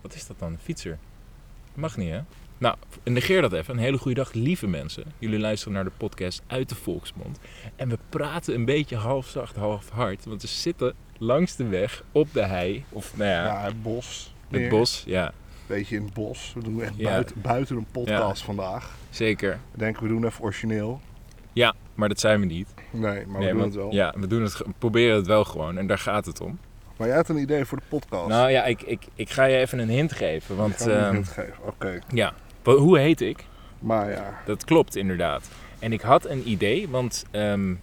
Wat is dat dan? Een fietser. Mag niet, hè? Nou, negeer dat even. Een hele goede dag, lieve mensen. Jullie luisteren naar de podcast uit de Volksmond. En we praten een beetje halfzacht, half hard. Want we zitten langs de weg op de hei. Of nou ja, Ja, het bos. het weer. bos. Ja, Beetje in het bos. We doen echt Ja. buiten, buiten een podcast vandaag. zeker. We denken we doen even origineel. Ja, maar dat zijn we niet. Nee, maar we Nee, doen want- het wel. Ja, we doen het, ge- proberen het wel gewoon. En daar gaat het om. Maar jij had een idee voor de podcast. Nou ja, ik, ik, ik ga je even een hint geven. Ik Want ga hem ehm, niet geven. Oké, ja, Wa- hoe heet ik? maar ja. Dat klopt inderdaad. En ik had een idee, want ehm,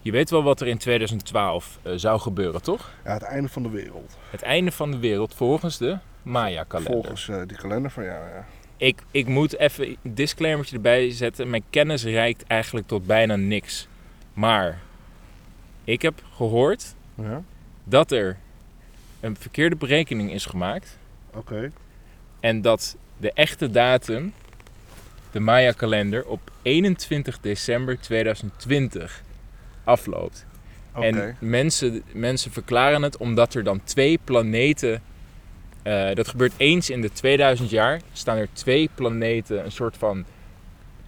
je weet wel wat er in 2012 eh, zou gebeuren, toch? ja, het einde van de wereld. Het einde van de wereld volgens de Maya-kalender. Volgens eh, die kalender van jou, ja. Ik, ik moet even een disclaimertje erbij zetten. Mijn kennis reikt eigenlijk tot bijna niks. Maar ik heb gehoord Ja, dat er een verkeerde berekening is gemaakt. oké. En dat de echte datum, de Maya-kalender, op 21 december 2020 afloopt. Oké. En mensen, mensen verklaren het omdat er dan twee planeten. eh, dat gebeurt eens in de 2000 jaar. Staan er twee planeten een soort van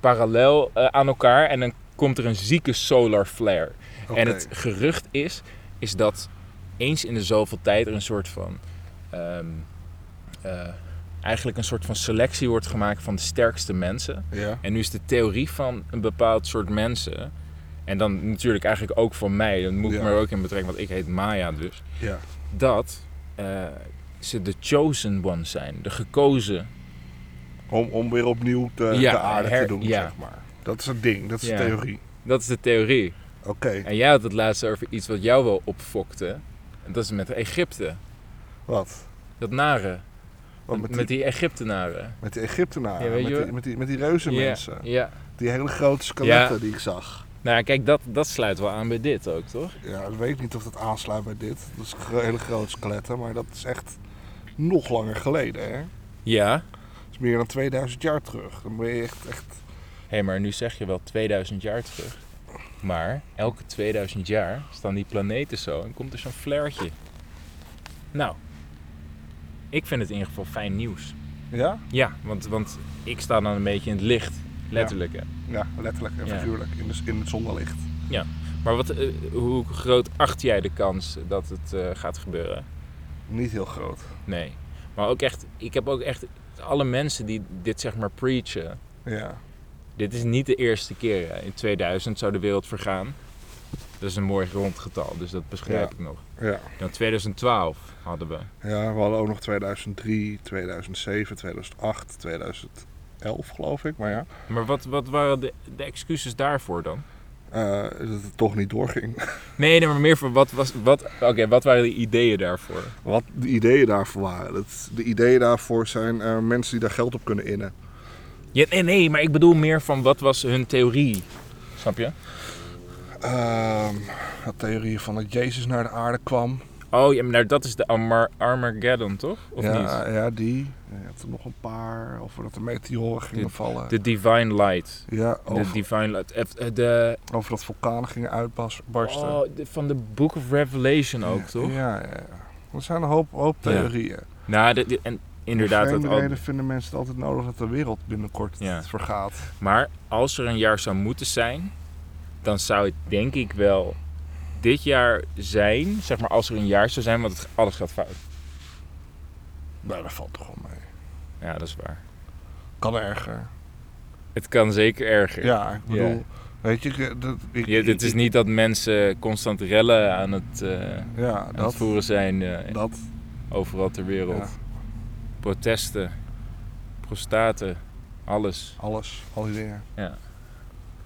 parallel eh, aan elkaar. En dan komt er een zieke solar flare. oké. En het gerucht is, is dat eens in de zoveel tijd er een soort van. ehm, eh, eigenlijk een soort van selectie wordt gemaakt van de sterkste mensen. Ja, En nu is de theorie van een bepaald soort mensen. En dan natuurlijk eigenlijk ook van mij. Dat moet ik Ja. maar ook in betrekking, want ik heet Maya dus. ja. Dat eh, ze de chosen one zijn. De gekozen. Om, om weer opnieuw de, Ja, de aarde her- te doen, ja. zeg maar. Dat is het ding, dat is Ja. de theorie. Dat is de theorie. Oké. En jij had het laatst over iets wat jou wel opfokte. En dat is met Egypte. Wat? Dat nare. Wat met, met, die... Egyptenaren. met die Egyptenaren, Ja, weet met, je die, wel. met, die, met die reuzenmensen. Ja, ja. Die hele grote skeletten Ja. die ik zag. Nou ja, kijk, dat, dat sluit wel aan bij dit ook, toch? Ja, ik weet niet of dat aansluit bij dit. Dat is gro- hele grote skeletten, maar dat is echt nog langer geleden. Hè? Ja. Dat is meer dan 2000 jaar terug. Dan ben je echt... echt... Hé, maar nu zeg je wel 2000 jaar terug. Maar elke 2000 jaar staan die planeten zo en komt er zo'n flaretje. Nou, ik vind het in ieder geval fijn nieuws. Ja? Ja, want, want ik sta dan een beetje in het licht, letterlijk. hè. Ja, letterlijk en Ja. figuurlijk. In, de, in het zonnelicht. Maar wat, eh, hoe groot acht jij de kans dat het eh, gaat gebeuren? Niet heel groot. Nee. Maar ook echt, ik heb ook echt alle mensen die dit zeg maar preachen. Ja. Dit is niet de eerste keer. hè. In 2000 zou de wereld vergaan. Dat is een mooi rond getal, dus dat begrijp Ja. ik nog. Ja. Nou, 2012 hadden we. ja, we hadden ook nog 2003, 2007, 2008, 2011 geloof ik. Maar ja, Maar wat, wat waren de, de excuses daarvoor dan? eh, dat het toch niet doorging. Nee, nee maar meer voor wat was. Wat, Oké, wat waren de ideeën daarvoor? wat de ideeën daarvoor waren. Dat, de ideeën daarvoor zijn eh, mensen die daar geld op kunnen innen. Ja, nee, nee, maar ik bedoel meer van wat was hun theorie. Snap je? Ehm de theorieën van dat Jezus naar de aarde kwam. Oh ja, maar nou, dat is de Amar- Armageddon, toch? Of ja, niet? ja, die. Je hebt er nog een paar. Of dat de meteoren gingen Dit- vallen. De Divine Light. ja, De over, Divine Light. eh, eh, De, over dat vulkanen gingen uitbarsten. oh, de- van de Book of Revelation ook, toch? Ja, ja, ja. Er zijn een hoop, hoop Ja. theorieën. Nou, de- de- en inderdaad. Om Dat vreemde al, reden vinden mensen het altijd nodig dat de wereld binnenkort Ja. vergaat. Maar als er een jaar zou moeten zijn, dan zou het denk ik wel dit jaar zijn. Zeg maar als er een jaar zou zijn, want het, alles gaat fout. Nou, dat valt toch wel mee. Ja, dat is waar. Kan erger. Het kan zeker erger. Ja, ik bedoel... Ja. Weet je, ik- dat, ik, Je, het is ik- niet dat mensen constant rellen aan het, eh, aan Ja, het dat, voeren zijn eh, dat overal ter wereld. Ja. Protesten, prostaten, alles. Alles, al die dingen.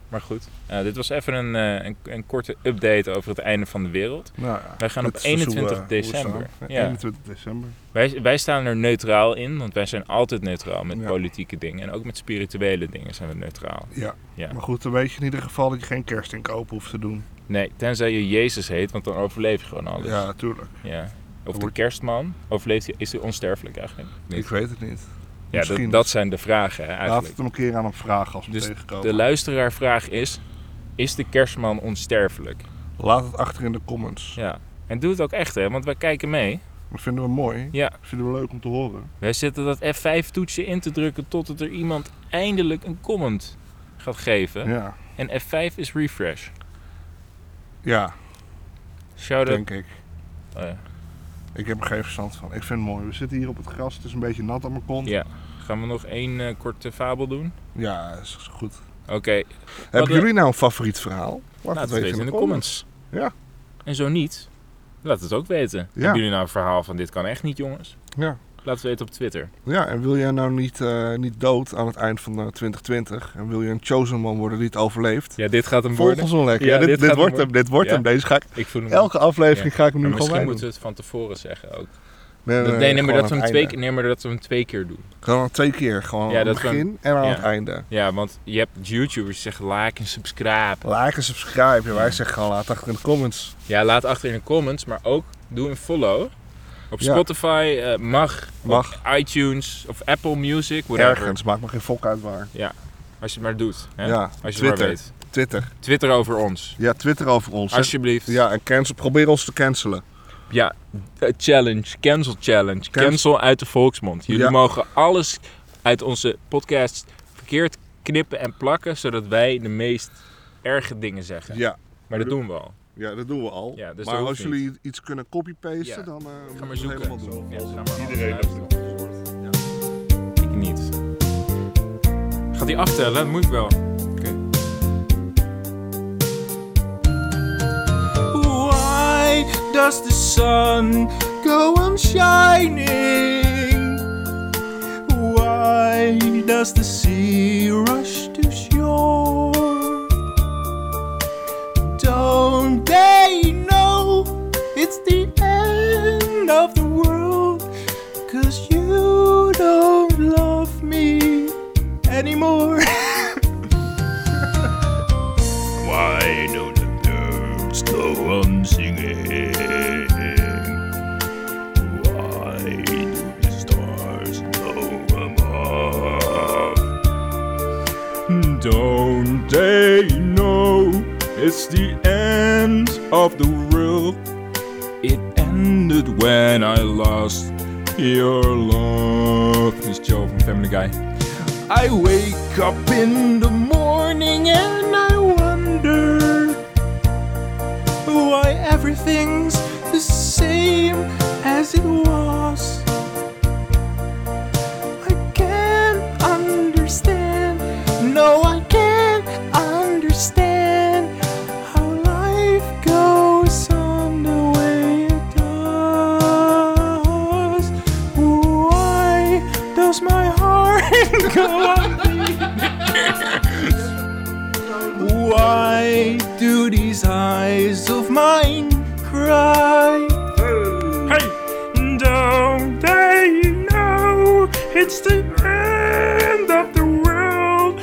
Maar goed, nou, dit was even een, eh, een, een korte update over het einde van de wereld. Nou ja. Wij gaan Dit op is dus hoe, 21 eh, hoe we staan. december. Ja, Ja. 21 december. Wij, wij staan er neutraal in, want wij zijn altijd neutraal met Ja. politieke dingen. En ook met spirituele dingen zijn we neutraal. Ja. Ja. Maar goed, dan weet je in ieder geval dat je geen kerstinkoop hoeft te doen. Nee, tenzij je Jezus heet, want dan overleef je gewoon alles. Ja, natuurlijk. Ja. Of de Wordt- kerstman, overleeft hij, is hij onsterfelijk eigenlijk? Ik weet het niet. Ja, misschien. dat, dat zijn de vragen hè, Laat eigenlijk. het hem een keer aan hem vragen als we Dus hem tegenkomen. De luisteraarvraag is, is de kerstman onsterfelijk? Laat het achter in de comments. Ja. En doe het ook echt hè, want wij kijken mee. Dat vinden we mooi. Ja. Dat vinden we leuk om te horen. Wij zitten dat F5-toetsje in te drukken totdat er iemand eindelijk een comment gaat geven. Ja, En F5 is refresh. ja Shout-out. denk ik. Oh ja. Ik heb er geen verstand van. Ik vind het mooi. We zitten hier op het gras. Het is een beetje nat aan mijn kont. Ja. Gaan we nog één eh, korte fabel doen? Ja, is goed. Oké, Hebben we- jullie nou een favoriet verhaal? Laat laat het weten in de comments. comments. En zo niet, laat het ook weten. Hebben jullie nou een verhaal van dit kan echt niet, jongens? Ja. Laat het weten op Twitter. Ja, en wil jij nou niet, eh, niet dood aan het eind van eh, 2020? En wil je een chosen man worden die het overleeft? Ja, dit gaat hem Volg worden. ons wel lekker. Ja, Ja, dit, dit dit, gaat wordt hem hem, dit wordt Ja. hem. Deze ga ik, Ik voel hem elke aflevering ga ik hem nu Maar gewoon misschien bij moeten doen. we het van tevoren zeggen ook. Nee, Dat, nee, nee, nee, maar gewoon dat we aan hem het twee, einde. keer- nee, maar dat we hem twee keer doen. Gewoon twee keer. Gewoon Ja, aan het dat we begin en aan ja. het einde. Ja, want je hebt YouTubers die zeggen like en subscribe. Like en subscribe. En wij zeggen gewoon laat achter in de comments. Ja, laat achter in de comments, maar ook doe een follow. Op Ja. Spotify eh, mag, Mag. op iTunes of Apple Music, whatever. Ergens. Maakt me geen volk uit waar. Als je het maar doet. Hè? Ja, Als je het maar Twitter. weet. Twitter. Twitter over ons. Ja, Twitter over ons. Alsjeblieft. Ja, en cancel, probeer ons te cancelen. Ja, eh, challenge, cancel challenge. Cancel. Cancel uit de volksmond. Jullie Ja. mogen alles uit onze podcast verkeerd knippen en plakken, zodat wij de meest erge dingen zeggen. Ja. Maar dat doen we al. Ja, dat doen we al. Ja, dus maar dat hoeft als jullie iets kunnen copy-pasten, Ja. dan eh Ga moeten we maar het zoeken. helemaal doen. Ja, ga maar Iedereen heeft luisteren. het gehoord. Ja. Ik niet. Gaat die aftellen? Dat moet ik wel. Why does the sun go on shining? Why does the sea rush to shore? Don't they know it's the end of the world? Cause you don't love me anymore. Why don't the birds go on singing? Why do the stars go above? Don't they know it's the end of the world? It ended when I lost your love. This is Joe from Family Guy. I wake up in the morning and I wonder why everything's the same as it was. I can't understand. No, I can't understand how life goes on the way it does. Why does my heart go on? beating? Why do these eyes of mine cry? Hey! Don't they know it's the end of the world?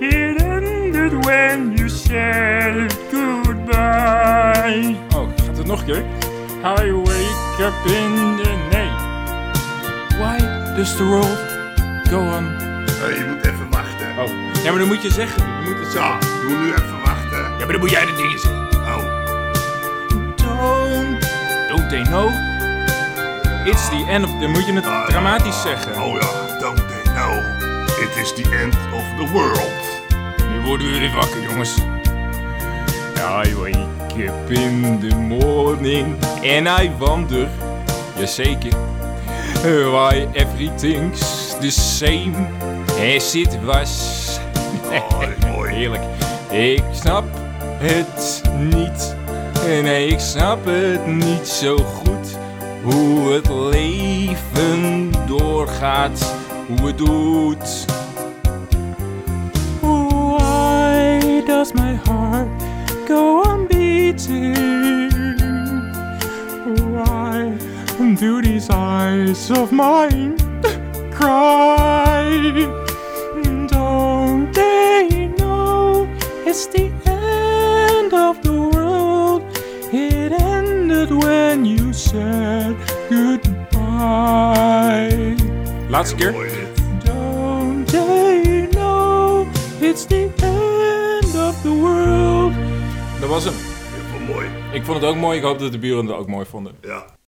It ended when you said goodbye. Oh, gaat het nog een keer? I wake up in the night. Why does the world go on? je moet even wachten. Oh, ja, maar dan moet je zeggen. Je moet het zeggen. doe nu even wachten. Ja, maar dan moet jij de dingen zeggen. Oh. Don't, don't they know? It's the end of... Dan moet je het dramatisch zeggen. Oh ja, don't they know. It is the end of the world. Nu worden jullie wakker, jongens. I wake up in the morning and I wonder, jazeker, why everything's the same as it was. Oh, mooi. Heerlijk. Ik snap het niet. Nee, ik snap het niet zo goed. Hoe het leven doorgaat. Hoe het doet. Why does my heart go on beating? Why do these eyes of mine cry? Don't they know it's the end of the world? It ended when you said goodbye. Laatste keer. Mooi dit. Don't they know it's the end of the world? Dat was hem. Heel mooi. Ik vond het ook mooi. Ik hoop dat de buren het ook mooi vonden. Ja.